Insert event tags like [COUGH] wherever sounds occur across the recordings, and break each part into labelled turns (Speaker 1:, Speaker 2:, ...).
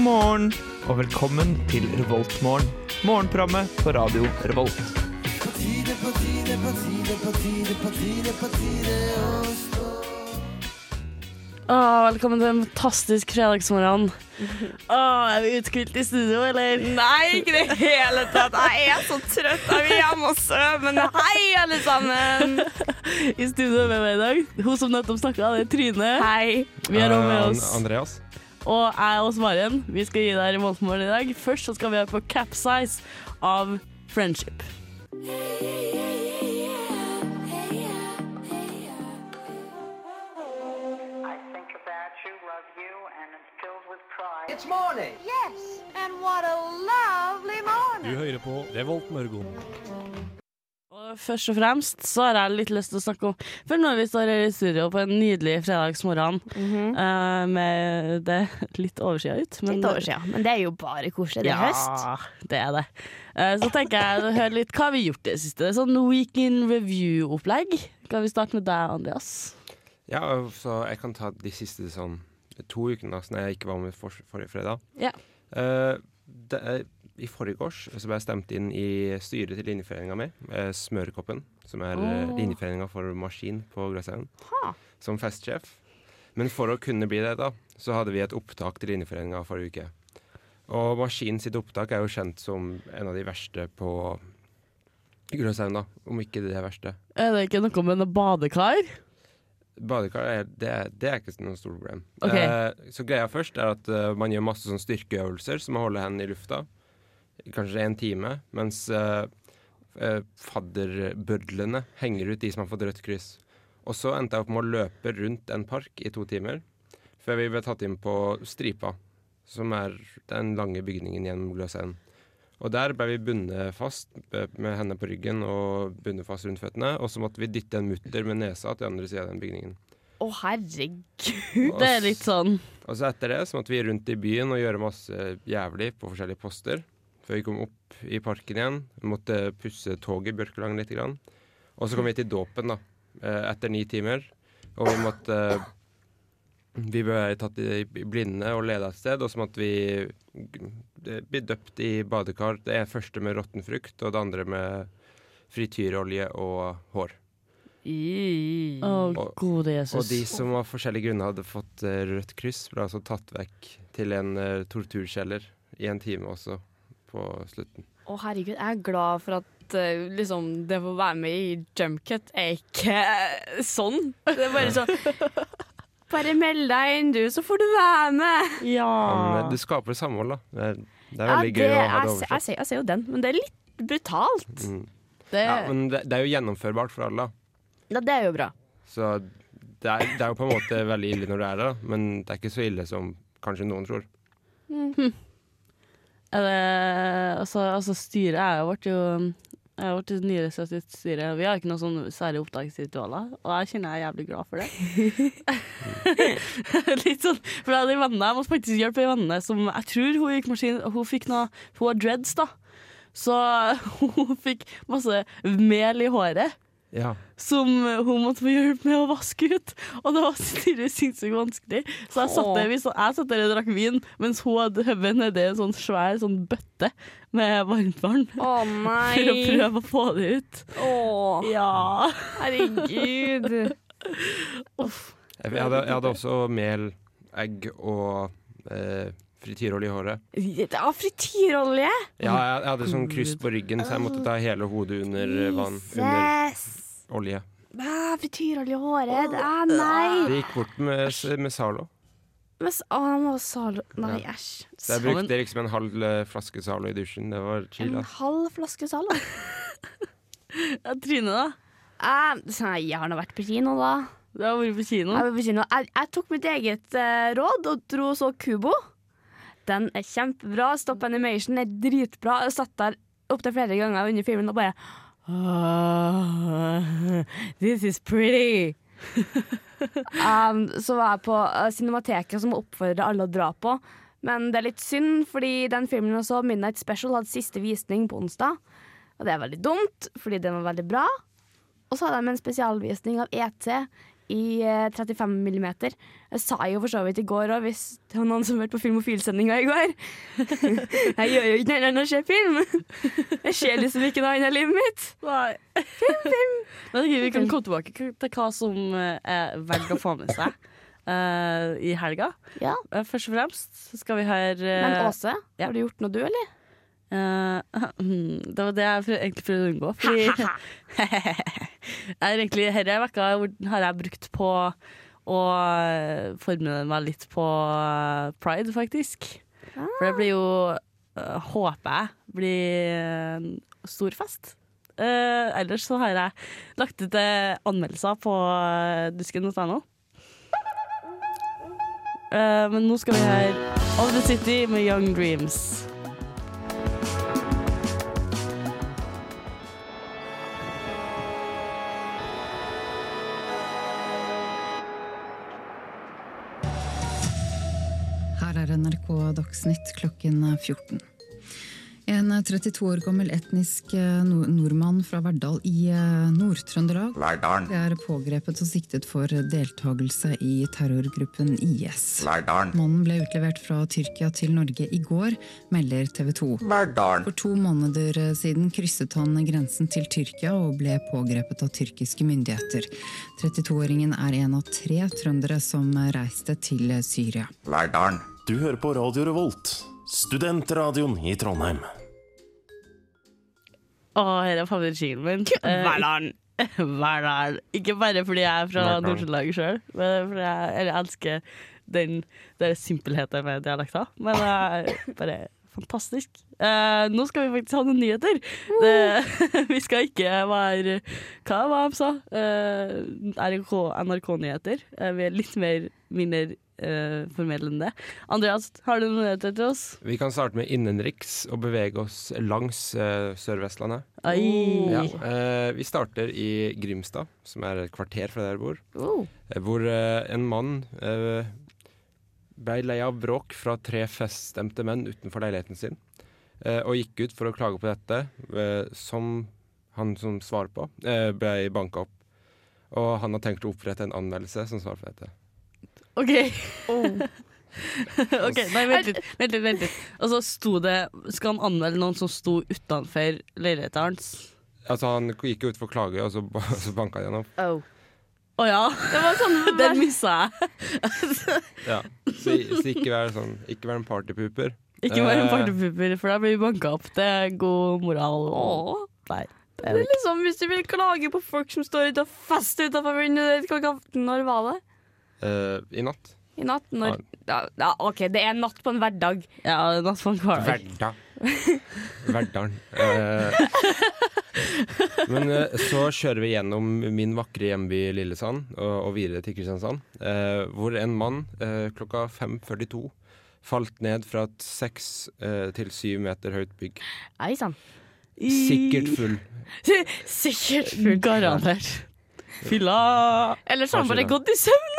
Speaker 1: morgen og velkommen til Revoltmorgen. Morgenprogrammet på radio Revolt.
Speaker 2: Åh, velkommen til en fantastisk [LAUGHS] fredagsmorgen. Åh, er vi uthvilt i studio, eller?
Speaker 3: Nei, ikke i det hele tatt. Jeg er så trøtt. Jeg vil hjem og sove. Men hei, alle sammen.
Speaker 2: I studio med meg i dag. Hun som nettopp snakka, det er Trine.
Speaker 3: Hei.
Speaker 2: Vi har også med
Speaker 4: Eh,
Speaker 2: oss.
Speaker 4: An- Andreas.
Speaker 2: Og jeg og Maren. Vi skal gi deg revoltmorgen i dag. Først så skal vi høre på Capsize av Friendship.
Speaker 5: I think about you, love you, and am filled with pride.
Speaker 6: Yes, and what a lovely morning.
Speaker 4: hører på Revolt Mørgon.
Speaker 2: Og først og fremst så har jeg litt lyst til å snakke om For når vi står her i studio på en nydelig fredagsmorgen eh, med det litt oversida ut men-
Speaker 3: Litt over siden. Men det er jo bare koselig. Det er høst.
Speaker 2: det er det. Eh, Så tenker jeg å høre litt hva har vi har gjort i det siste. Sånn Week in review-opplegg. Kan vi starte med deg, Andreas?
Speaker 4: Ja, så jeg kan ta de siste sånn to ukene da, siden jeg ikke var med for, forrige fredag.
Speaker 2: Ja.
Speaker 4: Eh, det, er- I forrige års så ble jeg stemt inn i styret til linjeforeninga mi, eh, Smørekoppen, som er oh.
Speaker 2: Åh.
Speaker 4: linjeforeninga for maskin på Gløshaugen, som festsjef. Men for å kunne bli det, da, så hadde vi et opptak til linjeforeninga forrige uke. Og Maskin sitt opptak er jo kjent som en av de verste på Gløshaugen, da. Om ikke det verste.
Speaker 2: Er det ikke noe med noe badekar?
Speaker 4: Badekar er, det, er- det er ikke noe stort problem.
Speaker 2: Ok.
Speaker 4: Eh, så greia først er at eh, man gjør masse sånn styrkeøvelser som å holde hendene i lufta. Kanskje en time. Mens eh, eh, fadderbødlene henger ut de som har fått rødt kryss. Og så endte jeg opp med å løpe rundt en park i to timer. Før vi ble tatt inn på Stripa, som er den lange bygningen gjennom Gløshaugen. Og der ble vi bundet fast eh, med hendene på ryggen og bundet fast rundt føttene. Og så måtte vi dytte en mutter med nesa til andre sida av den bygningen.
Speaker 3: Å, herregud.
Speaker 4: Og
Speaker 2: Det er litt sånn
Speaker 4: og så etter det så måtte vi rundt i byen og gjøre masse jævlig på forskjellige poster. Før vi kom opp i parken igjen. Vi måtte pusse toget i Bjørkelangen litt. Grann. Og så kom vi til dåpen, da. eh, Etter ni timer. Og vi måtte Vi ble tatt i i blinde og leda et sted, og så måtte vi eh, bli døpt i badekar. Det er første med råtten frukt, og det andre med frityrolje og hår.
Speaker 2: Å,
Speaker 3: Mm.
Speaker 2: gode Jesus.
Speaker 4: Og de som av forskjellige grunner hadde fått eh, rødt kryss, ble altså tatt vekk til en eh, torturkjeller i en time også, på slutten.
Speaker 3: Å, herregud. Jeg er glad for at eh, liksom, det å være med i Jumpcut er ikke eh, sånn. Det er bare sånn Bare meld deg inn, du, så får du være med.
Speaker 2: Ja.
Speaker 4: Men eh, du skaper samhold, da. Det er,
Speaker 3: Ah.
Speaker 4: det er
Speaker 3: Ja,
Speaker 4: veldig
Speaker 3: det
Speaker 4: gøy å ha
Speaker 3: er-
Speaker 4: det
Speaker 3: jeg,
Speaker 4: oversatt. Mm.
Speaker 3: ser- jeg ser jo den, men det er litt brutalt.
Speaker 2: Det,
Speaker 4: Ja, men det, det er jo gjennomførbart for alle, da.
Speaker 3: Ja, det er jo bra.
Speaker 4: Så det er, det er jo på en måte veldig ille når det er det, da. men det er ikke så ille som kanskje noen tror.
Speaker 2: er det altså, altså, styret er jo vårt jo jeg har vært i nyere sitt styre. Vi har ikke noen sånn særlig opptaksritualer, og jeg kjenner jeg er jævlig glad for det. Litt sånn, for jeg hadde en venninne, jeg måtte faktisk hjelpe ei venninne som jeg tror hun gikk maskin, hun fikk noe Hun har dreads, da. Så [LAUGHS] hun fikk masse mel i håret.
Speaker 4: Ja.
Speaker 2: som hun måtte få hjelp med å vaske ut. Og det var selvfølgelig sinnssykt vanskelig. Så jeg satt der, vi sa- jeg satt der og drakk vin, mens hun hadde hodet nedi en sånn svær sånn bøtte med varmtvann.
Speaker 3: Å [LAUGHS]
Speaker 2: For å
Speaker 3: nei.
Speaker 2: prøve å få det ut.
Speaker 3: Å,
Speaker 2: Ja.
Speaker 3: herregud.
Speaker 4: Jeg, jeg, hadde, jeg hadde også mel, egg og eh, frityrolje i håret.
Speaker 3: Ja, frityrolje.
Speaker 4: Ja, jeg, jeg hadde sånn kryss på ryggen, så jeg måtte ta hele hodet under eh, vann. Under olje.
Speaker 3: Ah, frityrolje i håret. Ah, nei.
Speaker 4: Det gikk bort med, s- med Zalo.
Speaker 3: Men s- ah, han var salo... Nei,
Speaker 4: Ja.
Speaker 3: æsj.
Speaker 4: Så jeg
Speaker 2: Sammen.
Speaker 4: brukte liksom en halv eh, flaske Zalo i dusjen. Det var chill.
Speaker 3: Sånn. En
Speaker 4: ass.
Speaker 3: halv flaske salo.
Speaker 2: ja Trine, da?
Speaker 3: Ah, nei, jeg har nå vært på kino, da.
Speaker 2: Du har vært på kino.
Speaker 3: Jeg, var på kino. jeg, jeg tok mitt eget eh, råd og dro og så Kubo. Den er kjempebra. Stop animation er dritbra. Jeg satt der opptil flere ganger under filmen og bare «Ah, This is pretty. um, så var jeg på eh, Cinemateket, som oppfordrer alle å dra på. Men det er litt synd, fordi den filmen også, Midnight Special, hadde siste visning på onsdag. Og det er veldig dumt, fordi den var veldig bra. Og så hadde de en spesialvisning av E ET i eh, 35 millimeter. Jeg sa jo for så vidt i går òg, hvis det var noen som hørte på Filmofil-sendinga i går. [LAUGHS] jeg gjør jo ikke noe annet enn å se film. Jeg ser liksom ikke noe annet i livet mitt.
Speaker 2: Nei. [LAUGHS] Men ok, vi kan komme tilbake til hva som eh, er verdt å få med seg eh, i helga.
Speaker 3: Ja.
Speaker 2: Eh, Først og fremst så skal vi høre eh,
Speaker 3: Men Åse,
Speaker 2: ja.
Speaker 3: har du gjort noe du, eller?
Speaker 2: eh, [LAUGHS] Det var det jeg prøv- egentlig prøvde å unngå. Fordi [LAUGHS] jeg har egentlig denne vekka hvor- har jeg brukt på å forberede meg litt på eh, pride, faktisk. For det blir jo, eh, håper jeg, blir en stor fest. Eh, ellers så har jeg lagt ut eh, anmeldelser på eh, dusken.no. Eh, men nå skal vi høre Of the City med Young Dreams.
Speaker 7: Her er NRK Dagsnytt klokken 14. En 32 år gammel etnisk eh, nor- nordmann fra Verdal i eh, Nord-Trøndelag
Speaker 8: Lærdalen,
Speaker 7: er pågrepet og siktet for deltakelse i terrorgruppen IS.
Speaker 8: Lærdalen,
Speaker 7: Mannen ble utlevert fra Tyrkia til Norge i går, melder TV 2.
Speaker 8: Lærdalen,
Speaker 7: For to måneder eh, siden krysset han grensen til Tyrkia og ble pågrepet av tyrkiske myndigheter. 32-åringen er en av tre trøndere som eh, reiste til Syria.
Speaker 8: Lærdalen.
Speaker 9: Du hører på Radio Revolt, studentradioen i Trondheim.
Speaker 2: Å, her er favorittjinglen min. Verdalen. [LAUGHS] Verdalen. Ikke bare fordi jeg er fra
Speaker 4: Verdalen.
Speaker 2: Nord-Trøndelag sjøl, men fordi jeg, eller jeg elsker den der simpelheten med dialekter. Men det er bare fantastisk. Eh, nå skal vi faktisk ha noen nyheter. Det, [LAUGHS] vi skal ikke være Hva var det de sa? Eh, NRK NRK-nyheter. Eh, vi er litt mer mindre eh, formelle enn det. Andreas, har du noen nyheter til oss?
Speaker 4: Vi kan starte med innenriks og bevege oss langs eh, Sør-Vestlandet.
Speaker 2: Ai.
Speaker 4: Ja. Eh, vi starter i Grimstad, som er et kvarter fra der jeg bor.
Speaker 2: Oh.
Speaker 4: eh, Hvor eh, en mann eh, ble lei av bråk fra tre feststemte menn utenfor leiligheten sin, eh, og gikk ut for å klage på dette, eh, som han som svarer på, eh, ble banka opp. Og han har tenkt å opprette en anmeldelse som svar på dette.
Speaker 2: OK.
Speaker 3: Oh.
Speaker 2: [LAUGHS] ok, nei, vent litt, vent litt, vent litt. Og så sto det Skal han anmelde noen som sto utenfor leiligheten hans?
Speaker 4: Altså Han gikk jo ut for å klage, og så, ba- [LAUGHS] så banka han opp.
Speaker 2: Å ja. Det var sånn, Den missa jeg.
Speaker 4: Ja. Så, så ikke vær sånn Ikke vær en partypooper.
Speaker 2: Ikke vær en
Speaker 4: Eh.
Speaker 2: partypooper, for da blir vi banka opp. Det er god moral.
Speaker 3: Åh.
Speaker 2: Nei. Det er det ikke.
Speaker 3: Liksom, hvis du vil klage på folk som står ute og fester utenfor vinduet ditt klokka Når var det?
Speaker 4: Eh, I natt.
Speaker 3: I natt? Når? Ja, ja, OK, det er en natt på en hverdag.
Speaker 2: Ja, Nattmann Kvalvik.
Speaker 4: Verda. Verdalen. Eh, men eh, så kjører vi gjennom min vakre hjemby Lillesand og, og videre til Kristiansand, eh, hvor en mann eh, klokka 5.42 falt ned fra et seks eh, til syv meter høyt bygg.
Speaker 3: Ei sann.
Speaker 4: Sikkert full.
Speaker 3: Sikkert
Speaker 2: I-
Speaker 3: fullt.
Speaker 2: Garantert. Fylla
Speaker 3: Eller så har han bare
Speaker 4: Kanskje det.
Speaker 3: gått i søvn.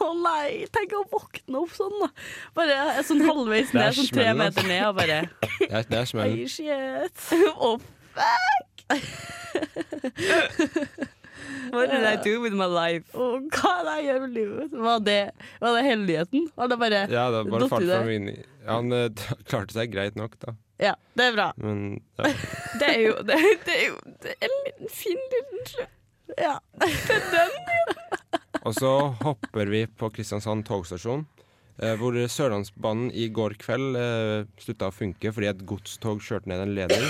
Speaker 2: Å nei, tenk å våkne opp sånn, da. Bare sånn halvveis
Speaker 4: er
Speaker 2: ned, sånn tre
Speaker 4: smellen, altså.
Speaker 2: meter ned, og bare
Speaker 4: Det er, det er smellen.
Speaker 2: Oi, shit. [LAUGHS]
Speaker 3: Oh, [LAUGHS] fuck! What did I do with my life?
Speaker 2: Og hva er det jeg gjør med livet mitt? Var det, var det hele nyheten? Var det bare
Speaker 4: Ja, det er bare
Speaker 2: Datt i
Speaker 4: fart
Speaker 2: det.
Speaker 4: fra min Han eh, [LAUGHS] klarte seg greit nok, da.
Speaker 2: Ja, det er bra.
Speaker 4: Men ja.
Speaker 3: Det er jo Det, det er jo det er en liten fin liten slutt.
Speaker 2: Ja.
Speaker 4: Og så hopper vi på Kristiansand togstasjon, eh, hvor Sørlandsbanen i går kveld eh, slutta å funke fordi et godstog kjørte ned en leder.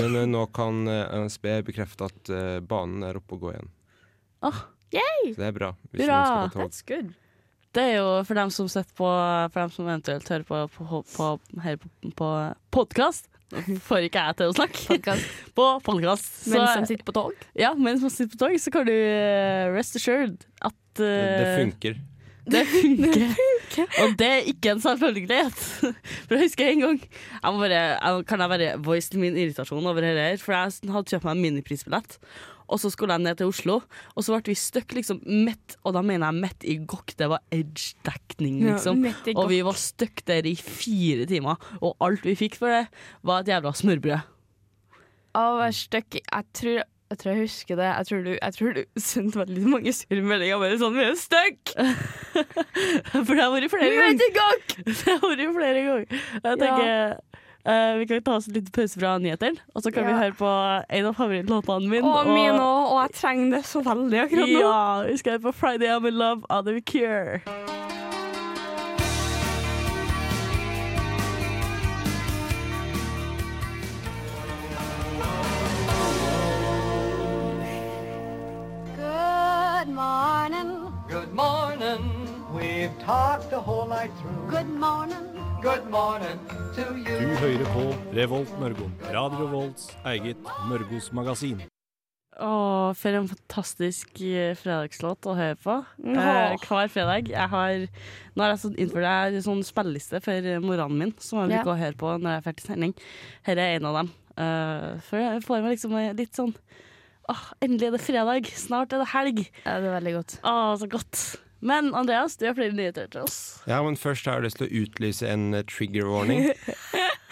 Speaker 4: Men eh, nå kan eh, NSB bekrefte at eh, banen er oppe og gå igjen.
Speaker 2: Åh,
Speaker 4: Så det er bra. Hvis
Speaker 2: Hurra!
Speaker 4: man skal på tog.
Speaker 3: That's good.
Speaker 2: det er jo for dem som sitter på For dem som eventuelt hører på, på, på her på, på podkast.
Speaker 3: [LAUGHS]
Speaker 2: Får ikke jeg til å snakke.
Speaker 3: Podcast.
Speaker 2: På podkast.
Speaker 3: Mens de sitter på tog.
Speaker 2: ja, mens man sitter på tog, så kan du eh, rest assured at
Speaker 4: Det, det
Speaker 2: eh,
Speaker 4: funker.
Speaker 2: Det funker. Og det er ikke en selvfølgelighet. [LAUGHS] For jeg husker en gang jeg må bare, jeg, Kan jeg bare voice min irritasjon over dette her? For jeg hadde kjøpt meg en miniprisbillett, og så skulle jeg ned til Oslo. Og så ble vi stuck liksom midt, og da mener jeg midt i gokk. Det var
Speaker 3: [LAUGHS]
Speaker 2: edge-dekning, liksom.
Speaker 3: midt i
Speaker 2: Og vi var stuck der i fire timer, og alt vi fikk for det, var et jævla smørbrød. [LAUGHS]
Speaker 3: Å, jeg er stuck i- Jeg tror Jeg tror jeg husker det. Jeg tror du, jeg tror du [LAUGHS] sendte veldig mange sure meldinger bare sånn 'Vi er stuck!'
Speaker 2: For det har vært flere
Speaker 3: [LAUGHS] Vi vet
Speaker 2: ganger.
Speaker 3: ikke hva-
Speaker 2: [LAUGHS] Det har vært flere ganger. Jeg tenker eh, Vi kan ta oss en liten pause fra nyhetene, og så kan
Speaker 3: Ja.
Speaker 2: vi høre på en av favorittlåtene mine.
Speaker 3: [LAUGHS] Og min òg, og jeg trenger det så veldig akkurat nå.
Speaker 2: Ja, vi skal høre på Friday I'm in love av The Cure.
Speaker 6: Good morning.
Speaker 8: Good morning. We've talked the whole night through.
Speaker 6: Good morning.
Speaker 8: Good morning to you.
Speaker 10: hører på Revolt Mørgon. Radio Revolts eget Mørgos magasin.
Speaker 2: Å, for en fantastisk eh, fredagslåt å høre på.
Speaker 3: Åh.
Speaker 2: Eh, hver fredag. Jeg har, nå har jeg sånn innført jeg har en sånn spilleliste for eh, morgenen min, som jeg
Speaker 3: Ja.
Speaker 2: bruker å høre på når jeg er ferdig sending. Her er en av dem. Eh, for jeg får meg liksom eh, litt sånn Åh, endelig er det fredag. Snart er det helg.
Speaker 3: Ja, det er veldig godt.
Speaker 2: Åh, så godt. Men Andreas, du har flere nyheter til oss.
Speaker 4: Ja, men først har jeg lyst til å utlyse en eh, trigger warning.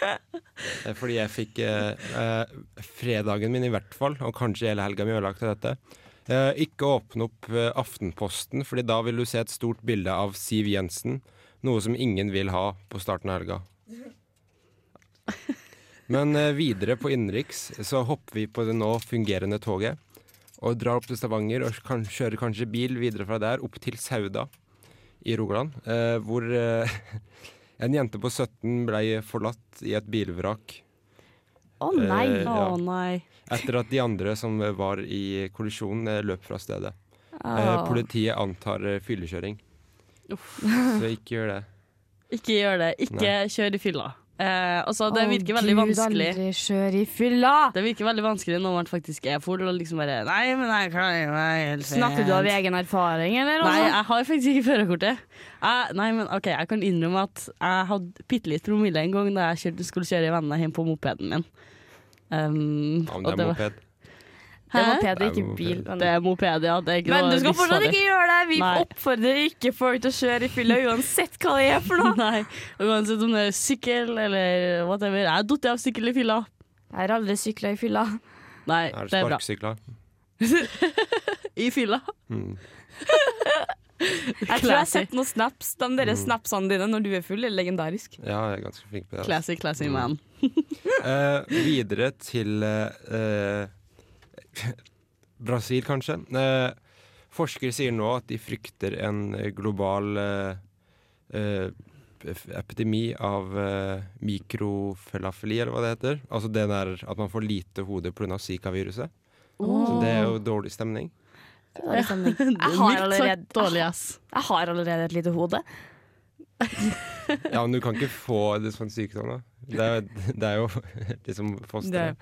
Speaker 4: Eh, Fordi jeg fikk eh, eh, fredagen min i hvert fall, og kanskje hele helga mi ødelagt av dette. Eh, ikke åpne opp eh, Aftenposten, Fordi da vil du se et stort bilde av Siv Jensen. Noe som ingen vil ha på starten av helga. Men eh, videre på innenriks så hopper vi på det nå fungerende toget. Og drar opp til Stavanger og kan, kjører kanskje bil videre fra der opp til Sauda i Rogaland, eh, hvor eh, [LAUGHS] en jente på 17 ble forlatt i et bilvrak
Speaker 3: Å nei.
Speaker 4: Eh,
Speaker 2: Å
Speaker 4: ja.
Speaker 2: nei.
Speaker 4: etter at de andre som var i kollisjonen, eh, løp fra stedet. Eh,
Speaker 3: Åh.
Speaker 4: politiet antar eh, fyllekjøring.
Speaker 2: Ah. Uff.
Speaker 4: Så ikke gjør det.
Speaker 2: Ikke gjør det. Ikke
Speaker 4: Nei.
Speaker 2: kjør i fylla. Eh, altså, det
Speaker 3: Å,
Speaker 2: virker veldig
Speaker 3: Gud,
Speaker 2: vanskelig.
Speaker 3: Aldri kjør i fylla!
Speaker 2: Det virker veldig vanskelig når man faktisk er full og liksom bare Nei, men jeg klarer meg helt fint.
Speaker 3: Snakker du av egen erfaring, eller?
Speaker 2: Nei,
Speaker 3: altså?
Speaker 2: jeg har faktisk ikke førerkortet. Jeg- Nei, men OK, jeg kan innrømme at jeg hadde bitte litt promille en gang da jeg kjørte, skulle kjøre vennene hjem på mopeden min. Um,
Speaker 4: Ja, men
Speaker 2: og
Speaker 4: det er
Speaker 2: var-
Speaker 4: moped.
Speaker 3: Det er
Speaker 2: Hæ?
Speaker 3: moped,
Speaker 4: Nei,
Speaker 3: ikke
Speaker 4: moped.
Speaker 3: bil.
Speaker 2: Det er moped, ja. Det er ikke
Speaker 3: Men
Speaker 2: noe
Speaker 3: du skal fortsatt
Speaker 2: livsfarlig.
Speaker 3: ikke gjøre det! Vi
Speaker 2: Nei.
Speaker 3: oppfordrer ikke folk til å kjøre i fylla uansett hva det er for noe.
Speaker 2: [LAUGHS] Nei, uansett om det er sykkel eller whatever. Jeg har falt av sykkel i fylla.
Speaker 3: Jeg har aldri sykla i fylla.
Speaker 2: Nei,
Speaker 4: Er
Speaker 2: det er bra.
Speaker 4: sparkesykler?
Speaker 2: I fylla.
Speaker 4: Mm.
Speaker 3: Jeg tror jeg har sett noen snaps. De der snapsene dine når du er full, er legendarisk.
Speaker 4: Ja, jeg er ganske flink på det.
Speaker 2: Classy,
Speaker 4: altså.
Speaker 2: classy man.
Speaker 4: Eh, videre til eh, eh, Brasil, kanskje. Eh, forskere sier nå at de frykter en global eh, eh, ef- epidemi av eh, mikrofalafeli, eller hva det heter. Altså det der at man får lite hode pga. zika-viruset. Så Det er jo dårlig stemning.
Speaker 3: Jeg
Speaker 2: Jeg
Speaker 3: har allerede-
Speaker 2: Dårlig, ass.
Speaker 3: har allerede et lite hode.
Speaker 4: Ja, men du kan ikke få det sånn sykdom, da. Det er, jo- det er jo [LAUGHS] liksom fosteret.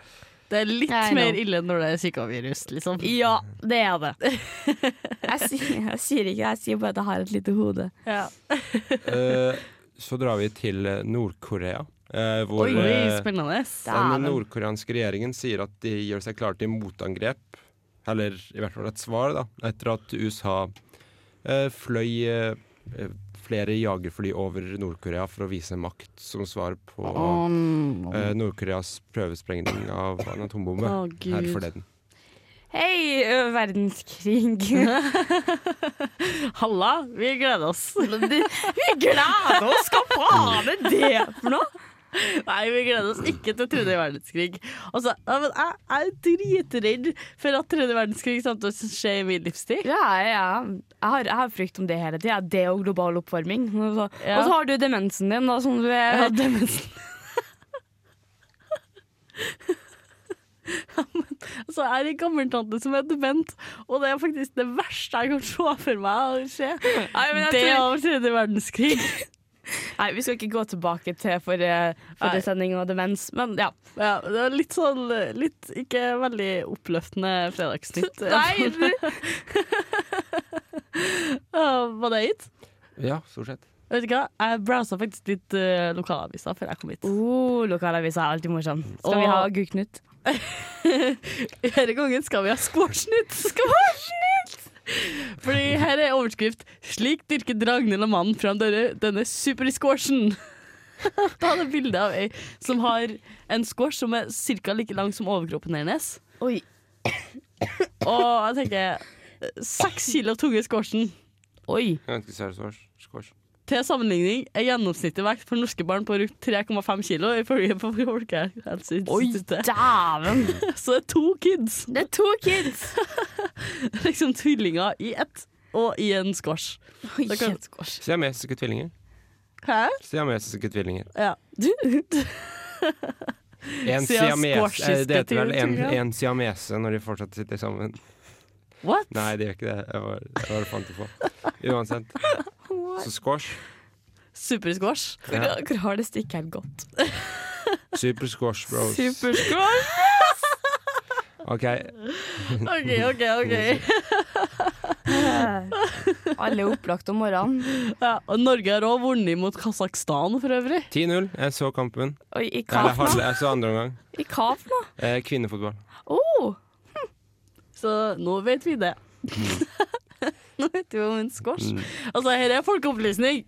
Speaker 2: Det er litt
Speaker 3: I know.
Speaker 2: mer ille når det er sykevirus, liksom.
Speaker 3: Ja, det er det. Jeg, sier- jeg sier ikke jeg sier bare at jeg har et lite hode.
Speaker 4: Eh, så drar vi til eh, Nord-Korea, eh, hvor
Speaker 2: Oi,
Speaker 4: eh,
Speaker 2: spennende.
Speaker 4: Den
Speaker 3: Dæven.
Speaker 4: nordkoreanske regjeringen sier at de gjør seg klare til motangrep, eller i hvert fall et svar, da, etter at USA eh, fløy eh, flere jagerfly over Nord-Korea for å vise makt som svar på eh, Nord-Koreas prøvesprengning av en atombombe
Speaker 2: Å, Gud.
Speaker 4: her forleden.
Speaker 3: Hei, ø, verdenskrig.
Speaker 2: [LAUGHS] Halla, vi gleder oss.
Speaker 3: [LAUGHS] Vi gleder oss! Hva faen er det for noe?
Speaker 2: Nei, vi gleder oss ikke til tredje verdenskrig. Altså, ja, men jeg, jeg er dritredd for at tredje verdenskrig samtidig som skjer i min livstid.
Speaker 3: [LAUGHS] Ja, ja. Jeg har, jeg har frykt om det hele tida. Det og global oppvarming. Og så,
Speaker 2: Ja.
Speaker 3: og så har du demensen din, da, som du
Speaker 2: Jeg
Speaker 3: er
Speaker 2: har demensen. Ja, men, altså, jeg er en gammeltante som er dement, og det er faktisk det verste jeg kan se for meg å skje.
Speaker 3: Nei, men jeg
Speaker 2: Det
Speaker 3: tror-
Speaker 2: over tredje verdenskrig.
Speaker 3: [LAUGHS] Nei, vi skal ikke gå tilbake til forrige
Speaker 2: Nei.
Speaker 3: forrige sending og demens, men ja.
Speaker 2: Ja, det var litt sånn litt, Ikke veldig oppløftende fredagsnytt.
Speaker 3: [LAUGHS] Nei, du-
Speaker 2: Ja, var det gitt?
Speaker 4: Ja, stort sett.
Speaker 2: [LAUGHS] Vet du hva, jeg browsa faktisk litt uh, lokalaviser før jeg kom hit.
Speaker 3: oh, lokalavisa er alltid morsom. Skal vi ha
Speaker 2: Åh.
Speaker 3: Gullknut?
Speaker 2: Denne gangen skal vi ha Squashnytt! Squashnytt! Fordi her er overskrift 'Slik dyrker Dragnhild og mannen fram denne, denne supersquashen'. Da er det bilde av ei som har en squash som er ca. like lang som overkroppen hennes.
Speaker 3: Oi.
Speaker 2: Og jeg tenker seks kilo tunge squashen. Oi.
Speaker 4: Jeg vet ikke hva det er, squash.
Speaker 2: Til sammenligning er gjennomsnittlig vekt for norske barn på rundt 3,5 kilo, ifølge Folkehelseinstituttet.
Speaker 3: Dæven!
Speaker 2: Så [LAUGHS] det er to kids,
Speaker 3: Det er to kids!
Speaker 2: liksom tvillinger i ett og i en squash. Det kan- [LAUGHS]
Speaker 4: Siamesiske tvillinger.
Speaker 2: Hæ?
Speaker 4: Siamesiske tvillinger.
Speaker 2: Ja.
Speaker 4: En
Speaker 2: Sia-
Speaker 4: siames,
Speaker 2: squashiske
Speaker 4: eh, det heter vel en,
Speaker 2: tvillinger.
Speaker 4: en siamese når de fortsatt sitter sammen.
Speaker 2: What?
Speaker 4: Nei, det gjør ikke det. Jeg var, jeg bare fant det på. Uansett. Så squash.
Speaker 2: Supersquash.
Speaker 4: Ja.
Speaker 3: Hvor har det stikket her gått?
Speaker 4: Super squash bros.
Speaker 2: Supersquash!
Speaker 4: OK.
Speaker 2: OK, OK, OK.
Speaker 4: [LAUGHS]
Speaker 3: Alle er opplagt om morgenen.
Speaker 2: Ja, og Norge har òg vunnet mot Kasakhstan, for øvrig.
Speaker 4: 10-0. Jeg så kampen.
Speaker 3: Oi, i
Speaker 4: Eller
Speaker 3: kaf nå?
Speaker 4: halve. Jeg så andre omgang.
Speaker 3: I kaf nå?
Speaker 4: Eh, kvinnefotball.
Speaker 3: Oh,
Speaker 2: Så nå vet vi det.
Speaker 4: Mm.
Speaker 2: [LAUGHS] nå vet vi om en squash. Altså, her er folkeopplysning!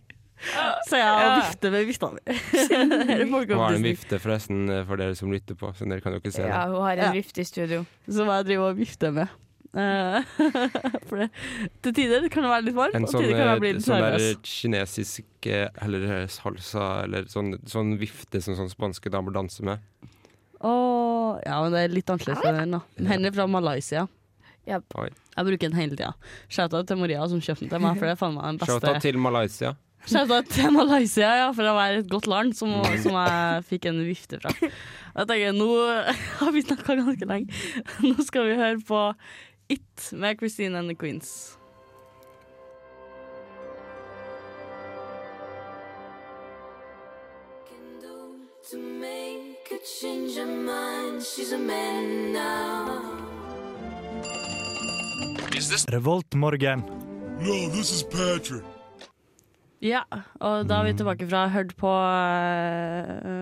Speaker 2: Så jeg vifter med vifta mi. Her er
Speaker 4: Og har en
Speaker 2: folkeopplysning.
Speaker 4: vifte, forresten, eh, for dere som lytter på, så dere kan jo ikke se
Speaker 3: ja,
Speaker 4: det.
Speaker 3: hun har en
Speaker 2: Ja.
Speaker 3: vifte i studio.
Speaker 2: Som jeg driver og vifter med. Eh, [LAUGHS] for det, til tider kan det være litt varmt,
Speaker 4: En
Speaker 2: og til
Speaker 4: sånn,
Speaker 2: tider kan jeg bli
Speaker 4: eh,
Speaker 2: litt
Speaker 4: sånn
Speaker 2: nervøs.
Speaker 4: der kinesisk eh, eller eh, salsa eller sånn, sånn vifte som sånn spanske damer danser med.
Speaker 2: Åh, ja, men det er litt annerledes enn den, da. Den er fra Malaysia.
Speaker 3: Japp.
Speaker 4: Oi.
Speaker 2: Jeg bruker den hele tida. Shoutout til Maria som kjøpte den til meg, for det er faen meg den beste.
Speaker 4: Shoutout til Malaysia.
Speaker 2: Shoutout til Malaysia, ja, for å være et godt land som, som jeg fikk en vifte fra. Jeg tenker, Nå [LAUGHS] har vi snakka ganske lenge. Nå skal vi høre på It med Christine and the Queens.
Speaker 1: Revoltmorgen.
Speaker 2: Ja, og da er vi tilbake fra hørt på eh,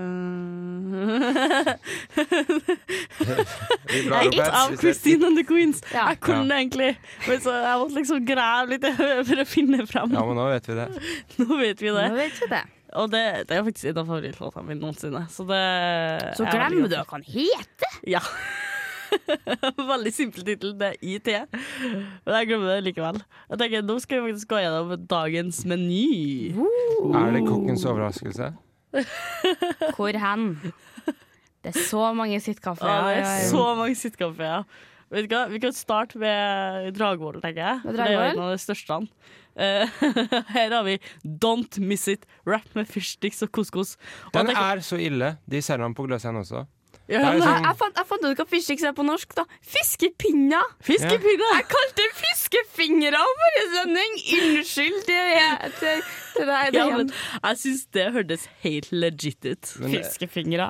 Speaker 4: Vi blar opp
Speaker 2: Eight
Speaker 4: her,
Speaker 2: [LAUGHS] av
Speaker 4: vi ser-
Speaker 2: Christine and the Queens.
Speaker 3: Ja.
Speaker 2: Jeg kunne det egentlig, men så jeg måtte liksom grave litt for å finne fram.
Speaker 4: Ja, men nå vet vi det.
Speaker 2: Nå vet vi det.
Speaker 3: Nå vet vi det.
Speaker 2: Og det, det er faktisk en av favorittlåtene mine noensinne. Så, det
Speaker 3: Så
Speaker 2: jeg er veldig
Speaker 3: glem
Speaker 2: glad
Speaker 3: det hva han het!
Speaker 2: for. Ja. [LAUGHS] veldig simpel tittel, det er IT. Men jeg glemmer det likevel. Jeg tenker, Nå skal vi faktisk gå gjennom dagens meny.
Speaker 4: Er det kokkens overraskelse?
Speaker 3: Hvor hen? Det er så mange sittkaffer.
Speaker 2: Ja, det er
Speaker 3: ja, ja.
Speaker 2: så mange sitcom-er. Vet du hva? Vi kan starte med Dragvoll, tenker jeg. For
Speaker 3: Med
Speaker 2: Det er jo
Speaker 3: Dragvoll?
Speaker 2: en av de største. han. Eh, [LAUGHS] her har vi Don't Miss It, rap med fyrstiks og couscous. Og
Speaker 4: Den
Speaker 2: jeg tenker-
Speaker 4: er så ille. De selger den på Gløshaugen også.
Speaker 2: Ja,
Speaker 4: det er
Speaker 2: men-
Speaker 4: sånn-
Speaker 3: Jeg, jeg, fant, jeg fant ut hva fyrstiks er på norsk. da Fiskepinner!
Speaker 2: Fiskepinner!
Speaker 3: Jeg kalte det fiskefingre av forrige sending! Unnskyld til, til, til deg.
Speaker 2: Ja,
Speaker 3: Dian.
Speaker 2: men jeg syns det hørtes helt legit ut.
Speaker 4: Men-
Speaker 2: Fiskefingre.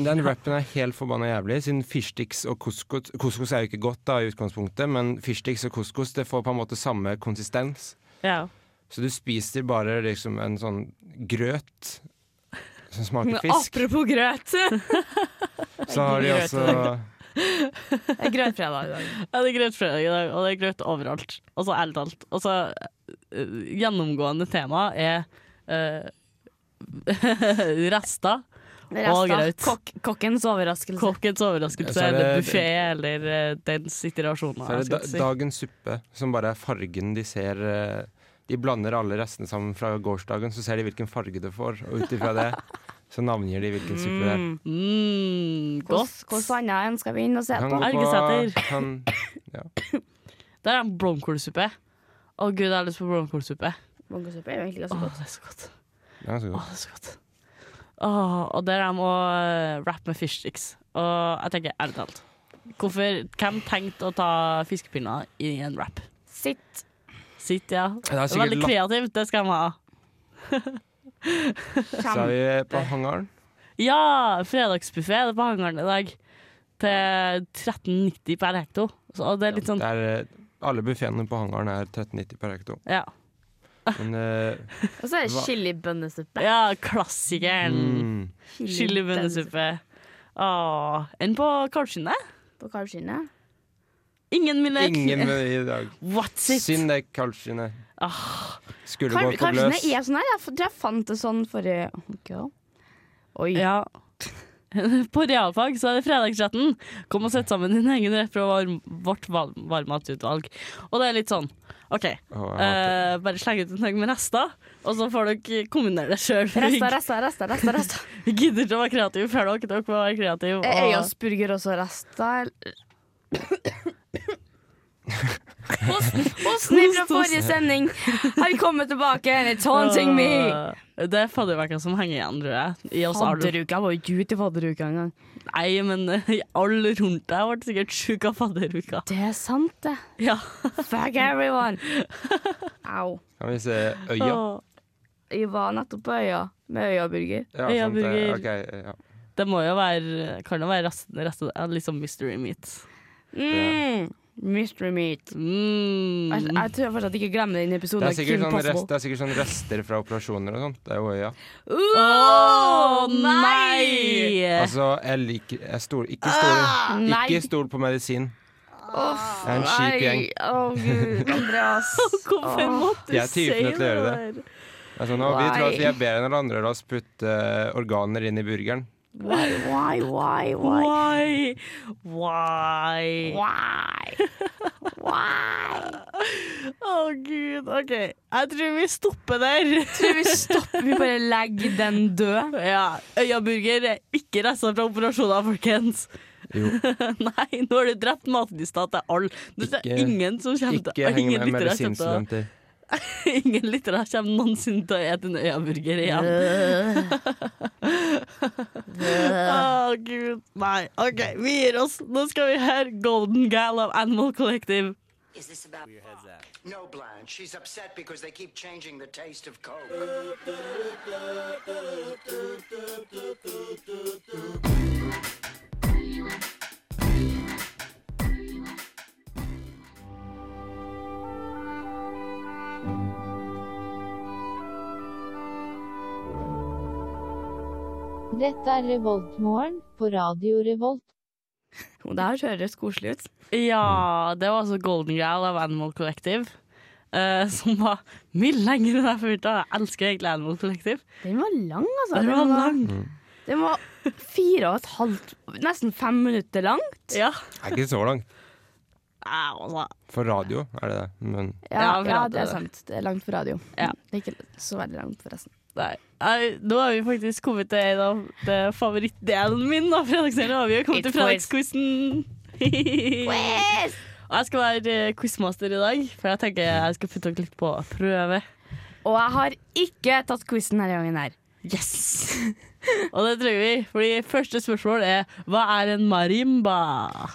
Speaker 4: Men den rappen er helt forbanna jævlig, siden fyrstiks og couscous Couscous er jo ikke godt da i utgangspunktet, men fyrstiks og couscous det får på en måte samme konsistens.
Speaker 2: Ja.
Speaker 4: Så du spiser bare liksom en sånn grøt som smaker
Speaker 3: Men
Speaker 4: fisk.
Speaker 3: Apropos grøt. Det
Speaker 4: Så har de også
Speaker 3: er grøtfredag i dag.
Speaker 2: [LAUGHS] ja, det er grøtfredag i dag, og det er grøt overalt. Altså ærlig talt. Altså, eh, gjennomgående tema er eh, [LAUGHS] rester. Å, grøt.
Speaker 3: Kokk, kokkens overraskelse.
Speaker 2: Kokkens overraskelse
Speaker 4: Så er det-
Speaker 2: eller buffé eller eh, den situasjonen.
Speaker 4: Så er det
Speaker 2: jeg
Speaker 4: da,
Speaker 2: skal si.
Speaker 4: dagens suppe, som bare er fargen de ser eh, De blander alle restene sammen fra gårsdagen, så ser de hvilken farge det får, og ut ifra det så navngir de hvilken suppe det er.
Speaker 2: Mm, godt.
Speaker 3: Hvilket annet ønsker vi inn og se
Speaker 4: Kan
Speaker 3: på?
Speaker 4: gå på-
Speaker 2: Elgeseter.
Speaker 4: kan-
Speaker 2: Der er en blomkålsuppe. Å gud, jeg har lyst på blomkålsuppe.
Speaker 3: Mangosuppe er jo egentlig
Speaker 2: Å,
Speaker 3: ganske godt.
Speaker 2: det er så godt.
Speaker 4: Det er ganske
Speaker 2: Å,
Speaker 3: [LAUGHS]
Speaker 4: godt.
Speaker 2: det er så godt. Å, og der er de å eh, rappe med fyrstiks. Og jeg tenker ærlig talt Hvorfor, Hvem tenkte å ta fiskepinner i en rap?
Speaker 3: Sitt.
Speaker 2: Sitt, ja.
Speaker 4: Det er sikkert
Speaker 2: Veldig
Speaker 4: latt-
Speaker 2: kreativt, det skal de ha.
Speaker 4: Så er vi på hangaren.
Speaker 2: Ja, fredagsbuffé er det på hangaren i dag. Til 13,90 per hekto. Så, og det er litt sånn
Speaker 4: Det er, eh, alle buffeene på hangaren er 13,90 per hekto.
Speaker 2: Ja,
Speaker 3: Ah,
Speaker 4: Men eh,
Speaker 3: Og så er det
Speaker 4: Hva-
Speaker 3: chilibønnesuppe.
Speaker 2: ja klassikeren.
Speaker 4: mm,
Speaker 2: Chilibønnesuppe. Åh, Enn på kalvskinnet?
Speaker 3: På kalvskinnet.
Speaker 2: Ingen minner.
Speaker 4: ingen meny
Speaker 3: [LAUGHS]
Speaker 4: i dag.
Speaker 2: What's it?
Speaker 4: Synd det, kalvskinnet.
Speaker 3: Ah.
Speaker 4: Skulle gå på
Speaker 3: Kalvskinnet
Speaker 4: gløs.
Speaker 3: er sånn her. Jeg f- tror jeg fant det sånn forrige Oi.
Speaker 2: Ja. [LAUGHS] På realfag så er det fredagschatten. Kom og sett sammen din egen rett fra varm- vårt val- varmmatutvalg. Og det er litt sånn OK,
Speaker 4: Å, jeg
Speaker 2: eh, bare sleng ut en haug med rester, og så får dere kombinere det sjøl.
Speaker 3: Resta,
Speaker 2: Vi
Speaker 3: resta, resta. resta, resta.
Speaker 2: [LAUGHS] vi gidder ikke å være kreative før dere, dere må være kreative.
Speaker 3: Er Øyasburger også resta? eller? Hosten hosten fra
Speaker 2: Host, host.
Speaker 3: forrige sending har kommet tilbake. and It's haunting me.
Speaker 2: Eh, Det er fadderveka som henger igjen, tror jeg. I oss alle.
Speaker 3: Fadderuka jeg var jo ikke ute i fadderuka engang.
Speaker 2: Nei, men eh, i alle rundt deg ble sikkert sjuk av fadderuka.
Speaker 3: Det er sant, det.
Speaker 2: Ja.
Speaker 3: Fuck everyone. Au.
Speaker 4: Kan vi se øya?
Speaker 2: Åh.
Speaker 3: Jeg var nettopp på øya med øyaburger.
Speaker 4: Ja,
Speaker 2: Øya
Speaker 4: sant det.
Speaker 2: burger.
Speaker 4: Ok, ja.
Speaker 2: Det må jo være Kan jo være resten, resten ja, Litt sånn mystery meat.
Speaker 3: Mm. Mystery meat.
Speaker 2: Mm.
Speaker 3: Jeg, jeg tror jeg fortsatt ikke glemmer den episoden.
Speaker 4: Det er,
Speaker 3: av
Speaker 4: sikkert
Speaker 3: Kim
Speaker 4: sånn
Speaker 3: Possible.
Speaker 4: rest, det er sikkert sånn rester fra operasjoner og sånt. Det er jo øya.
Speaker 3: Åh,
Speaker 2: nei!
Speaker 4: Altså, jeg liker jeg stol, ikke, stol,
Speaker 3: Eh. Ah! nei.
Speaker 4: ikke stol på medisin.
Speaker 3: Uff,
Speaker 4: Det er en kjip
Speaker 3: nei.
Speaker 4: gjeng.
Speaker 3: Å gud, Andreas.
Speaker 2: Hvorfor måtte
Speaker 4: Jeg
Speaker 2: du
Speaker 4: er
Speaker 2: si
Speaker 4: typen
Speaker 2: det?
Speaker 4: til å gjøre
Speaker 2: der?
Speaker 4: Altså, nå, vi tror at vi
Speaker 3: Why?
Speaker 4: er bedre enn alle andre. La oss putte eh, organer inn i burgeren.
Speaker 3: Why, why, why, why?
Speaker 2: Why? Why?
Speaker 3: Why? Why?
Speaker 2: Å, gud. OK, jeg tror vi stopper der.
Speaker 3: Tror vi stopper, vi bare legger den død.
Speaker 2: [LAUGHS] Ja, Øyaburger er ikke resta fra operasjoner, folkens. [LAUGHS]
Speaker 4: [LAUGHS] Jo.
Speaker 2: Nei, nå har du drept matlysta til alle. Du ser
Speaker 4: Ikke-
Speaker 2: ingen som kommer til
Speaker 4: Ikke heng
Speaker 2: Ingen
Speaker 4: med
Speaker 2: lyttere kommer til å-
Speaker 4: medisinstudenter.
Speaker 2: [LAUGHS] ingen lyttere kommer noensinne til å ete en øyaburger igjen. [LAUGHS] Å, gud. Nei. OK, vi gir oss. Nå skal vi høre Golden Gal av Animal Collective.
Speaker 11: Is this about No, Blanche. She's upset because they keep changing the taste of Coke.
Speaker 12: Dette er Revoltmorgen på Radio Revolt.
Speaker 3: Og det her høres koselig ut.
Speaker 2: Ja, det var altså Golden Gal av Animal Collective. eh, som var mye lenger enn jeg forventa. Jeg elsker egentlig Animal Collective.
Speaker 3: Den var lang, altså.
Speaker 2: Den var lang.
Speaker 3: Den var fire og et halvt, nesten fem minutter lang.
Speaker 2: Ja.
Speaker 4: Det er ikke så langt.
Speaker 2: Au, altså.
Speaker 4: For radio er det det. Men
Speaker 2: Ja,
Speaker 3: Ja,
Speaker 2: for
Speaker 3: ja,
Speaker 2: at-
Speaker 3: det er sant. Det er langt for radio.
Speaker 2: Ja.
Speaker 3: Det er ikke så veldig langt, forresten.
Speaker 2: Nei. Nei, Nå har vi faktisk kommet til en av det favorittdelen min av fredagsserien. Har vi jo kommet
Speaker 3: It's
Speaker 2: til [LAUGHS] fredagsquizen. Og jeg skal være eh, quizmaster i dag, for jeg tenker jeg skal putte dere litt på prøve.
Speaker 3: Og jeg har ikke tatt quizen denne gangen her.
Speaker 2: Yes! [LAUGHS] Og det trenger vi, fordi første spørsmål er hva er en marimba?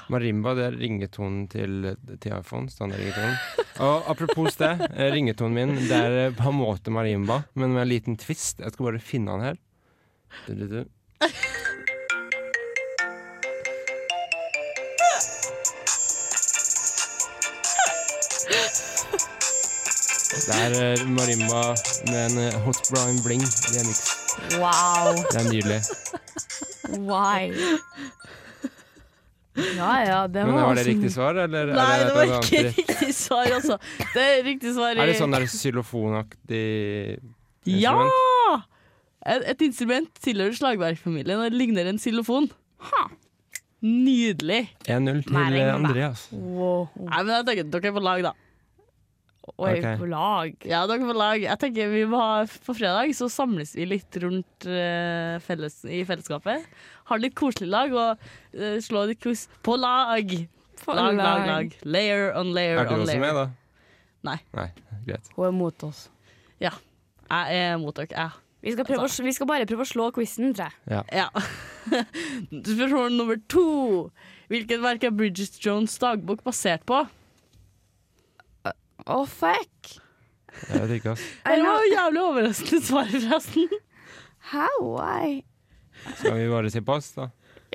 Speaker 4: marimba det er ringetonen til til iPhone. Standardringetonen. Og apropos det, eh, ringetonen min det er eh, på en måte marimba, men med en liten twist. Jeg skal bare finne den her. Du, du, du. Det er eh, marimba med en eh, hot brown bling remix.
Speaker 3: Wow.
Speaker 4: Det er nydelig.
Speaker 3: Why? [LAUGHS] Ja ja, det
Speaker 4: Men
Speaker 3: var
Speaker 4: var det
Speaker 3: awesome.
Speaker 4: riktig svar, eller? er
Speaker 2: Nei, det
Speaker 4: et
Speaker 2: var
Speaker 4: eller annet
Speaker 2: ikke
Speaker 4: dritt?
Speaker 2: [LAUGHS] riktig svar, altså. Det er riktig svar i
Speaker 4: Er det sånn der xylofonaktig
Speaker 2: Ja!
Speaker 4: instrument?
Speaker 2: Et, et instrument tilhører slagverkfamilien og ligner en xylofon. Nydelig.
Speaker 4: 1-0 til
Speaker 3: Marimba.
Speaker 4: Andreas.
Speaker 3: Wow.
Speaker 2: Nei, men jeg tenker dere er på lag, da.
Speaker 3: Oi,
Speaker 4: Ok.
Speaker 3: på lag.
Speaker 2: Ja, dere er på lag. Jeg tenker vi må ha På fredag så samles vi litt rundt eh, felles, i fellesskapet. Har litt koselig lag og eh, slå litt quiz på lag. Lag, lag, lag. Layer on layer
Speaker 4: Er du
Speaker 2: on
Speaker 4: også
Speaker 2: layer.
Speaker 4: med, da?
Speaker 2: Nei.
Speaker 4: Nei, Greit.
Speaker 3: Hun er mot oss.
Speaker 2: Jeg er mot dere. Jeg.
Speaker 3: Vi skal, prøve å, s- vi skal bare prøve å slå quizen, tror jeg.
Speaker 2: Ja. [LAUGHS] Spørsmål nummer to. Hvilket verk er Bridget Jones' dagbok basert på?
Speaker 3: Å, fuck.
Speaker 4: Jeg vet ikke, ass.
Speaker 2: Det var jo jævlig overraskende svar, forresten.
Speaker 3: How? Why?
Speaker 4: Skal vi bare si pass, da?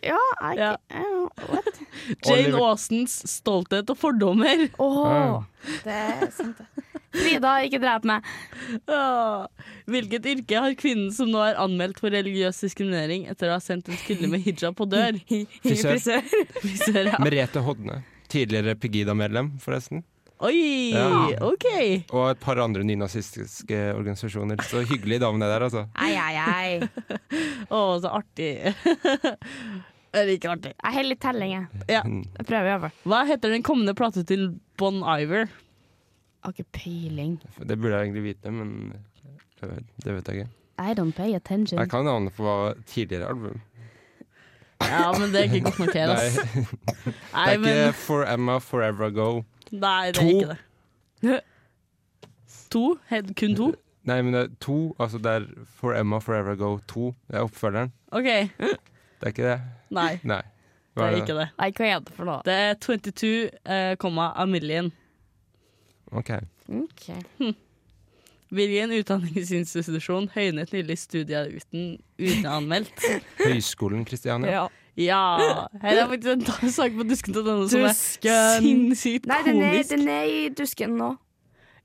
Speaker 3: Ja, I
Speaker 2: Ja.
Speaker 3: can't- What?
Speaker 2: Jane
Speaker 4: Oliver-
Speaker 2: Austens 'Stolthet og fordommer'.
Speaker 3: Åh, det er sant det. Frida, ikke drep meg.
Speaker 2: Åh. Hvilket yrke har kvinnen som nå er anmeldt for religiøs diskriminering etter å ha sendt en kvinne med hijab på dør?
Speaker 4: [LAUGHS] Frisør.
Speaker 2: Frisør, ja.
Speaker 4: Merete Hodne. Tidligere Pegida-medlem, forresten.
Speaker 2: Oi,
Speaker 4: Ja.
Speaker 2: OK.
Speaker 4: Og et par andre nynazistiske organisasjoner. Så hyggelig dame, det der, altså.
Speaker 3: Ei, ei, ei.
Speaker 2: Å, så artig. [LAUGHS] det er ikke artig.
Speaker 3: Jeg holder litt telling, jeg.
Speaker 2: Ja.
Speaker 4: Mm.
Speaker 3: Jeg prøver i hvert fall.
Speaker 2: Hva heter den kommende plata til Bon Iver?
Speaker 3: Har ikke peiling.
Speaker 4: Det burde jeg egentlig vite, men det det vet jeg ikke.
Speaker 3: I don't pay attention.
Speaker 4: Jeg kan navnet på hva tidligere album.
Speaker 2: Ja, men det er ikke godt nok her, ass.
Speaker 4: Nei. Det
Speaker 2: Nei,
Speaker 4: er
Speaker 2: men-
Speaker 4: ikke For Emma Forever Ago.
Speaker 2: Nei, det er ikke det. To? He- Kun to?
Speaker 4: Nei, men det er to. Altså det er For Emma Forever Ago 2. Det er oppfølgeren.
Speaker 2: OK.
Speaker 4: Det er ikke det?
Speaker 2: Nei.
Speaker 4: Nei.
Speaker 2: Det
Speaker 4: Hva
Speaker 2: er ikke det.
Speaker 3: Nei, hva er det for noe?
Speaker 2: Det er 22,a million.
Speaker 4: OK.
Speaker 2: Hm. Hvilken utdanningsinstitusjon høynet nylig studier uten uteanmeldt?
Speaker 3: [LAUGHS]
Speaker 4: Høgskolen Kristiania.
Speaker 2: Ja. Her er faktisk en da- sak på dusken.no som er
Speaker 3: Dusken.
Speaker 2: sinnssykt
Speaker 3: Nei, den er,
Speaker 2: komisk.
Speaker 3: den er i dusken nå.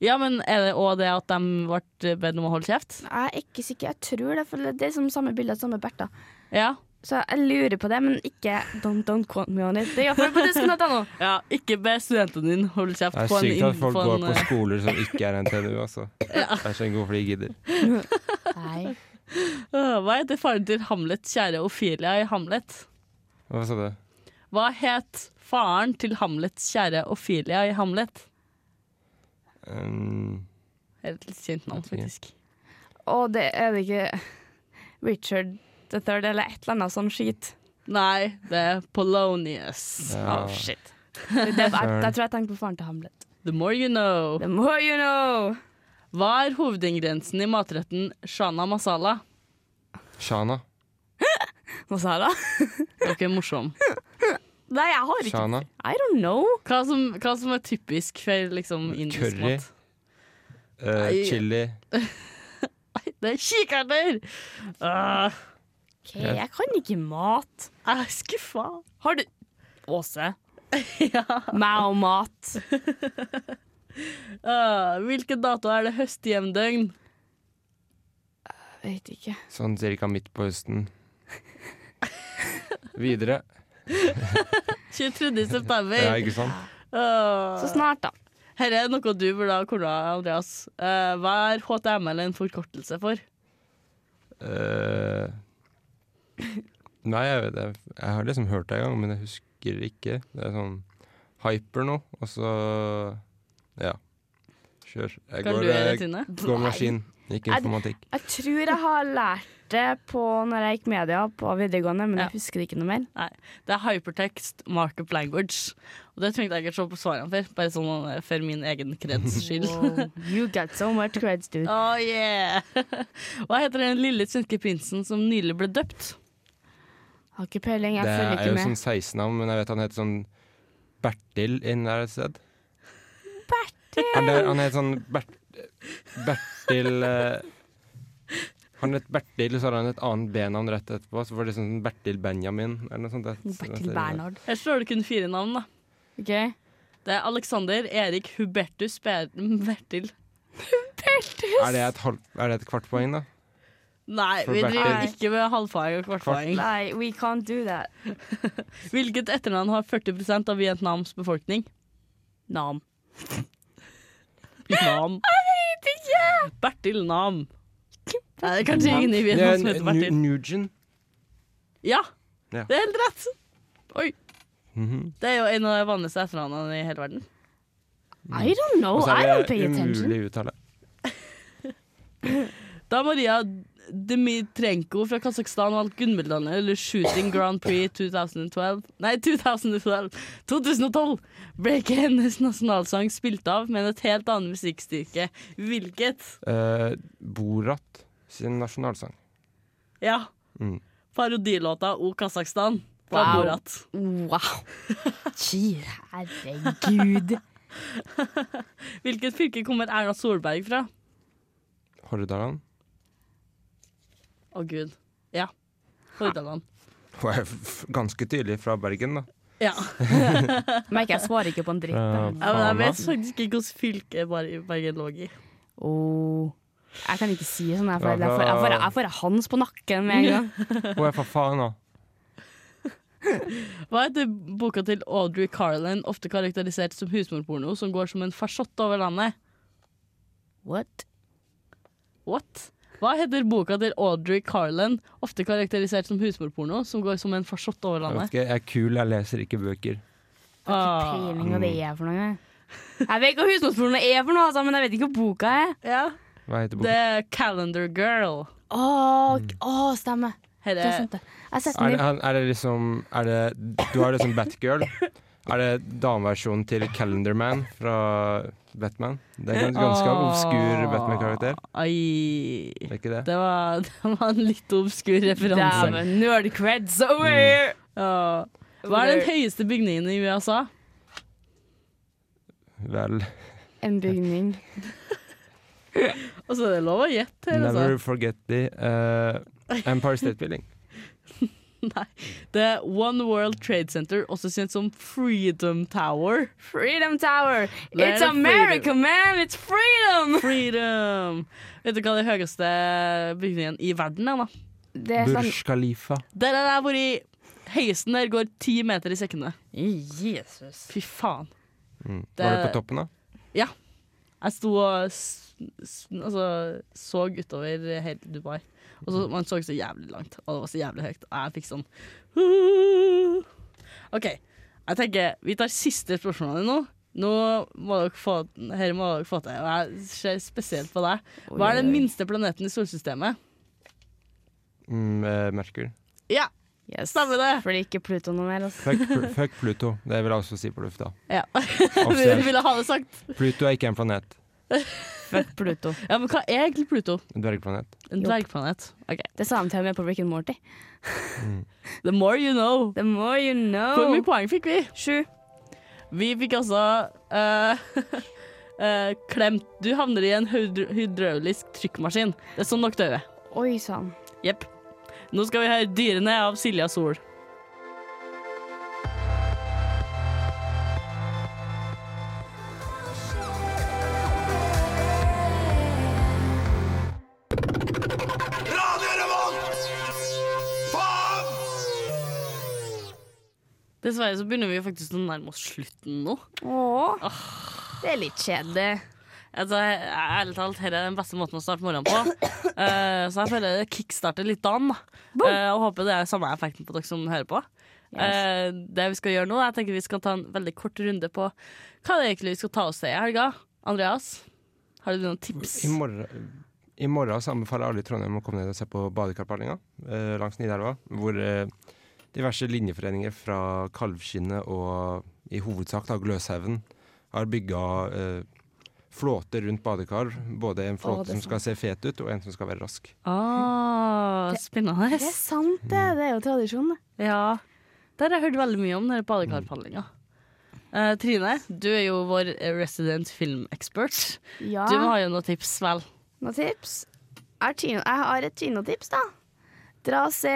Speaker 2: Ja, men er det òg det at de ble bedt om å holde kjeft?
Speaker 3: Jeg er ikke sikker. Jeg tror det, for det er liksom samme bilde av samme Bertha.
Speaker 2: Ja.
Speaker 3: Så jeg lurer på det, men ikke don't, don't quote me on it. Det er iallfall på dusken.no.
Speaker 2: Ja, ikke be studentene dine holde kjeft
Speaker 4: Det er
Speaker 2: på en
Speaker 4: sykt at
Speaker 2: inn-
Speaker 4: folk
Speaker 2: på
Speaker 4: går
Speaker 2: en,
Speaker 4: på
Speaker 2: eh,
Speaker 4: skoler som ikke er NTNU,
Speaker 2: [LAUGHS]
Speaker 4: altså. Det er så god fordi de gidder.
Speaker 2: Øh, Hva heter faren til Hamlets kjære Ophelia i Hamlet?
Speaker 4: Hva sa du?
Speaker 2: Hva het faren til Hamlets kjære Ophelia i Hamlet?
Speaker 4: Um,
Speaker 2: Det er et litt kjent navn, faktisk.
Speaker 3: Og det er det ikke Richard the Third eller et eller annet sånn skit.
Speaker 2: Nei, det er Polonius.
Speaker 3: Ja.
Speaker 2: Oh, shit.
Speaker 3: Det, det, jeg, jeg tror jeg tenker på faren til Hamlet.
Speaker 2: The more you know.
Speaker 3: The more you know.
Speaker 2: Hva er hovedingrediensen i matretten shana masala?
Speaker 4: Shana.
Speaker 3: Masala?
Speaker 2: Dere er morsom.
Speaker 3: Nei, jeg har ikke
Speaker 4: Shana.
Speaker 3: I don't know.
Speaker 2: Hva som, hva som er typisk for liksom, indisk
Speaker 4: Curry.
Speaker 2: mat?
Speaker 4: eh,
Speaker 2: Nei.
Speaker 4: chili.
Speaker 2: Det er kikerter! Ah,
Speaker 3: Ok, jeg kan ikke mat.
Speaker 2: jeg er skuffa.
Speaker 3: Har du Åse? Meg og mat.
Speaker 2: Ah, hvilken dato er det høstjevndøgn?
Speaker 3: Vet ikke.
Speaker 4: Sånn cirka midt på
Speaker 2: [LAUGHS]
Speaker 4: høsten. Videre.
Speaker 2: 23. september. Ah.
Speaker 4: Ja, ikke sant?
Speaker 2: Så
Speaker 3: snart, da.
Speaker 2: Her er noe du burde ha korna, Andreas. Eh, hva er HTML en forkortelse for?
Speaker 4: Eh, nei, jeg vet det. Jeg har liksom hørt det en gang, men jeg husker ikke. Det er sånn hyper nå, og så Ja. Kjør. Jeg
Speaker 2: Kan
Speaker 4: går,
Speaker 2: du gjøre det,
Speaker 4: jeg
Speaker 2: Trine?
Speaker 4: går maskin, ikke
Speaker 3: Nei.
Speaker 4: informatikk.
Speaker 3: Jeg tror jeg har lært det på når jeg gikk media på videregående, men jeg husker ikke noe mer.
Speaker 2: Nei, Det er hypertext markup language. Og Det trengte jeg ikke se på svarene for, bare sånn eh, for min egen kreds skyld.
Speaker 3: You got so much creds, dude.
Speaker 2: oh yeah! [LAUGHS] Hva heter den lille svenske prinsen som nylig ble døpt?
Speaker 3: Har ikke peiling, jeg
Speaker 4: det
Speaker 3: følger
Speaker 4: er jo
Speaker 3: ikke med.
Speaker 4: sånn 16-navn, men jeg vet han heter sånn Bertil inn der et sted. Bertil! Han, er, han heter sånn Bert, Bertil eh, Han het Bertil, så har han et annet B-navn rett etterpå. Så var det sånn Bertil Benjamin eller noe sånt. Det- det- det-
Speaker 2: Her står det kun fire navn, da. Det er Alexander, Erik, Hubertus, Ber Bertil
Speaker 4: Er det et, halv, er det et kvart poeng, da?
Speaker 2: Nei,
Speaker 4: For
Speaker 2: vi driver
Speaker 4: Bertil.
Speaker 2: ikke med halvpoeng og kvartpoeng.
Speaker 3: Nei, we can't do that.
Speaker 2: Hvilket etternavn har 40 av Vietnams befolkning? Nam.
Speaker 4: [LAUGHS]
Speaker 2: Nam. Bertil Nam. Nei, det er kanskje ingen i
Speaker 4: Det
Speaker 2: Vietnam
Speaker 4: er
Speaker 2: som heter
Speaker 4: Nu-
Speaker 2: Bertil.
Speaker 4: Nugent.
Speaker 2: Ja,
Speaker 4: Ja.
Speaker 2: det er helt rett! Oi.
Speaker 4: Mhm.
Speaker 2: Det er jo en av de vanligste etternavnene i hele verden.
Speaker 3: I don't know.
Speaker 4: Mm. Og så
Speaker 3: I
Speaker 4: er
Speaker 3: don't
Speaker 4: det
Speaker 3: pay attention.
Speaker 4: umulig uttale.
Speaker 2: Da Maria Dmitrenko fra Kasakhstan vant gullmedalje under Shooting Grand Prix 2012 Nei, 2012! 2012 ble ikke hennes nasjonalsang spilt av, men et helt annet musikkstykke. Hvilket?
Speaker 4: Eh, Borat sin nasjonalsang.
Speaker 2: Ja,
Speaker 4: Mm.
Speaker 2: parodilåta O Kasakhstan fra
Speaker 3: Wow.
Speaker 2: Borat.
Speaker 3: Wow. Gud, herregud.
Speaker 2: Hvilket fylke kommer Erna Solberg fra?
Speaker 4: Hordaland.
Speaker 2: Å gud. Ja. Hordaland.
Speaker 4: Hun er f- ganske tydelig fra Bergen, da.
Speaker 2: Ja.
Speaker 3: Merker jeg svarer ikke på en dritt.
Speaker 2: ja
Speaker 4: Fra
Speaker 2: men jeg
Speaker 4: Fana.
Speaker 2: vet faktisk ikke hvilket fylke Bar- Bergen lå i.
Speaker 3: Åh. Oh. Jeg kan ikke si sånn. Jeg får,
Speaker 4: Ja,
Speaker 3: jeg får, jeg får, jeg får hans på nakken med en gang.
Speaker 4: Hun er fra Fana.
Speaker 2: Hva heter boka til Audrey Carlin, ofte karakterisert som husmorporno, som går som en farsott over landet? What? What? Hva heter boka til Audrey Carlin, ofte karakterisert som husmorporno, som går som en farsott over
Speaker 4: Jeg vet
Speaker 2: landet?
Speaker 4: ikke, jeg er kul, jeg leser ikke bøker.
Speaker 2: Ah.
Speaker 3: Peiling hva det
Speaker 4: Mm.
Speaker 3: er for noe. Jeg vet ikke hva husmorsporene er for noe, altså, men jeg vet ikke hva boka er.
Speaker 4: Hva heter
Speaker 2: Det
Speaker 4: boka?
Speaker 2: er Calendar Girl.
Speaker 3: Åh, åh, stemmer.
Speaker 2: Her
Speaker 3: Det er
Speaker 2: er
Speaker 3: sant, det. Jeg har sett
Speaker 4: Mm. Er
Speaker 3: den
Speaker 4: det,
Speaker 3: din.
Speaker 4: han- er det liksom er det, Du har det som Batgirl. Er det dameversjonen til Calendarman fra Batman? Det er en ganske
Speaker 2: Eh, Åh.
Speaker 4: obskur Batman-karakter.
Speaker 2: Ai.
Speaker 4: Er det ikke det?
Speaker 2: Det var, [LAUGHS] det var en litt obskur referanse.
Speaker 3: Dæven, nerd creds over!
Speaker 4: Mm.
Speaker 2: Ja. Hva er den høyeste bygningen i USA?
Speaker 4: Vel
Speaker 3: En bygning.
Speaker 2: Altså, det er lov å gjette her,
Speaker 4: Never
Speaker 2: altså.
Speaker 4: forget the eh, Empire State Building.
Speaker 2: Det er One World Trade Center, også kjent som Freedom Tower.
Speaker 3: Freedom Tower!
Speaker 2: Land
Speaker 3: It's
Speaker 2: of
Speaker 3: America, man! It's freedom!
Speaker 2: Freedom! ehm, Vet du hva den høyeste bygningen i verden er, da?
Speaker 3: Det er sånn
Speaker 4: Burj Khalifa.
Speaker 2: Der har jeg vært Høyesten der går ti meter i sekundet.
Speaker 3: Jesus.
Speaker 2: Fy faen. [LAUGHS]
Speaker 4: Mm.
Speaker 2: Det-
Speaker 4: Var du på toppen, da?
Speaker 2: Ja. Jeg sto og s s altså, så utover hele Dubai. Og så, man så så jævlig langt, og det var så jævlig høyt. Og jeg fikk sånn OK. Jeg tenker vi tar siste spørsmålet nå. Nå må dere få, her må dere få til, og jeg ser spesielt på deg. Hva er den minste planeten i solsystemet?
Speaker 4: Mm, eh, Merkur.
Speaker 2: Ja,
Speaker 3: Yes.
Speaker 2: stemmer det!
Speaker 3: Fordi ikke Pluto noe mer, altså.
Speaker 2: [LAUGHS]
Speaker 4: Fuck, Pl- fuck Pluto. Det vil jeg også si på lufta.
Speaker 2: Ja. [LAUGHS]
Speaker 4: Offisielt.
Speaker 2: Du ville ha det sagt.
Speaker 4: Pluto er ikke en planet.
Speaker 3: Fuck Pluto.
Speaker 2: Ja, Men hva er egentlig Pluto?
Speaker 4: En dvergplanet.
Speaker 2: En
Speaker 3: Jo.
Speaker 2: dvergplanet? Ok.
Speaker 3: [LAUGHS] Det sa de til og med på Rick and Morty.
Speaker 2: The more you know.
Speaker 3: The more you
Speaker 2: Hvor
Speaker 3: know.
Speaker 2: mye poeng fikk vi?
Speaker 3: Oh. Sju.
Speaker 2: Vi fikk altså eh, [LAUGHS] eh, klemt Du havner i en hydro- hydraulisk trykkmaskin. Det er sånn nok døde.
Speaker 3: Oi sann.
Speaker 2: Jepp. Nå skal vi høre 'Dyrene' av Silja Sol. Dessverre så begynner vi faktisk å nærme oss slutten nå.
Speaker 3: Åh. Det er litt kjedelig.
Speaker 2: Altså, jeg- Ærlig talt, dette er den beste måten å starte morgenen på. Eh, så jeg føler det kickstarter litt dagen. da. Eh, og håper det er samme effekten på dere som hører på. Eh, det vi skal gjøre nå, jeg tenker vi skal ta en veldig kort runde på hva det er egentlig vi skal ta oss til i helga. Andreas, har du noen tips?
Speaker 4: I morgen, I morgen så anbefaler jeg alle i Trondheim å komme ned og se på Badekarpallinga eh, langs Nidelva. Hvor eh, diverse linjeforeninger fra Kalvskinnet og i hovedsak da Gløshaugen har bygga eh, flåter rundt badekar. Både en
Speaker 3: Å,
Speaker 4: flåte
Speaker 3: det er
Speaker 4: som skal se fet ut, og en som skal være rask.
Speaker 2: Ah, spennende.
Speaker 3: Det er sant, det. Det er jo tradisjon, det.
Speaker 2: Ja. Der har jeg hørt veldig mye om denne badekarpallinga. Eh, Trine, du er jo vår resident filmekspert.
Speaker 3: Ja.
Speaker 2: Du har jo noen tips, vel?
Speaker 3: Noen tips? Er kino, jeg har et kinotips, da. Dra og se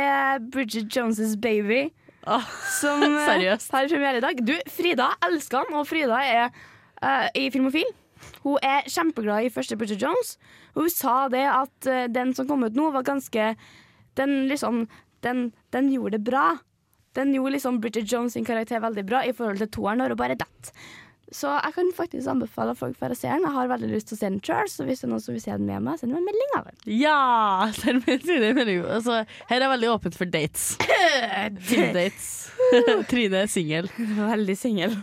Speaker 3: Bridget Jones' Baby.
Speaker 2: Ah,
Speaker 3: Som eh,
Speaker 2: [LAUGHS] seriøst?
Speaker 3: har premiere i dag. Du, Frida elsker han, og Frida er eh, i Filmofil. Hun er kjempeglad i første Bridget Jones. Hun sa det at eh, den som kom ut nå, var ganske Den liksom Den, den gjorde det bra. Den gjorde liksom Bridget Jones sin karakter veldig bra i forhold til toeren, når hun bare datt. Så jeg kan faktisk anbefale folk for å se den. Jeg har veldig lyst til å se den sjøl, så hvis det er noen som vil se den med meg, send meg en melding [LAUGHS] av den.
Speaker 2: Ja! Det er min Trine Meling. Altså, her er veldig åpent for dates. Tinder-dates. Trine er singel.
Speaker 3: Veldig singel.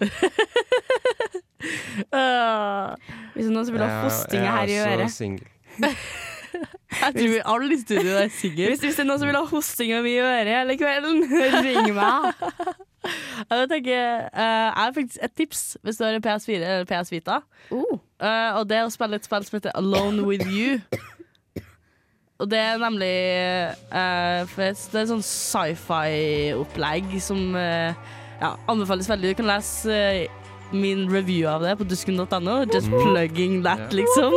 Speaker 2: Øh,
Speaker 3: Hvis det er noen som vil ha
Speaker 4: jeg
Speaker 3: fostinger
Speaker 4: er
Speaker 3: her i
Speaker 4: også
Speaker 3: øret.
Speaker 4: singel.
Speaker 2: jeg tror vi alle i studio er single.
Speaker 3: Hvis, hvis det er noen som vil ha hostinga mi i øret hele kvelden, [LAUGHS] ring meg.
Speaker 2: Jeg tenker, øh, jeg har faktisk et tips hvis du har en PS4 eller PS Vita.
Speaker 3: Oh.
Speaker 2: Øh, og det er å spille et spill som heter Alone With You. Og det er nemlig øh, for Det er sånn sci-fi-opplegg som øh, ja, anbefales veldig. Du kan lese øh, min review av det på dusken.no. Just plugging that, liksom.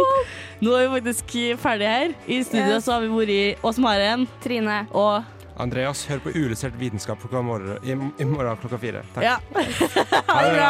Speaker 2: Nå er vi faktisk ferdig her. I studio
Speaker 3: Yes.
Speaker 2: så har vi vært i Åse Maren
Speaker 3: Trine.
Speaker 2: og [LAUGHS]
Speaker 4: Andreas, hør på Uillustrert vitenskap klokka morgen, i, i morgen klokka fire. Takk.
Speaker 2: Ja. Ha det bra!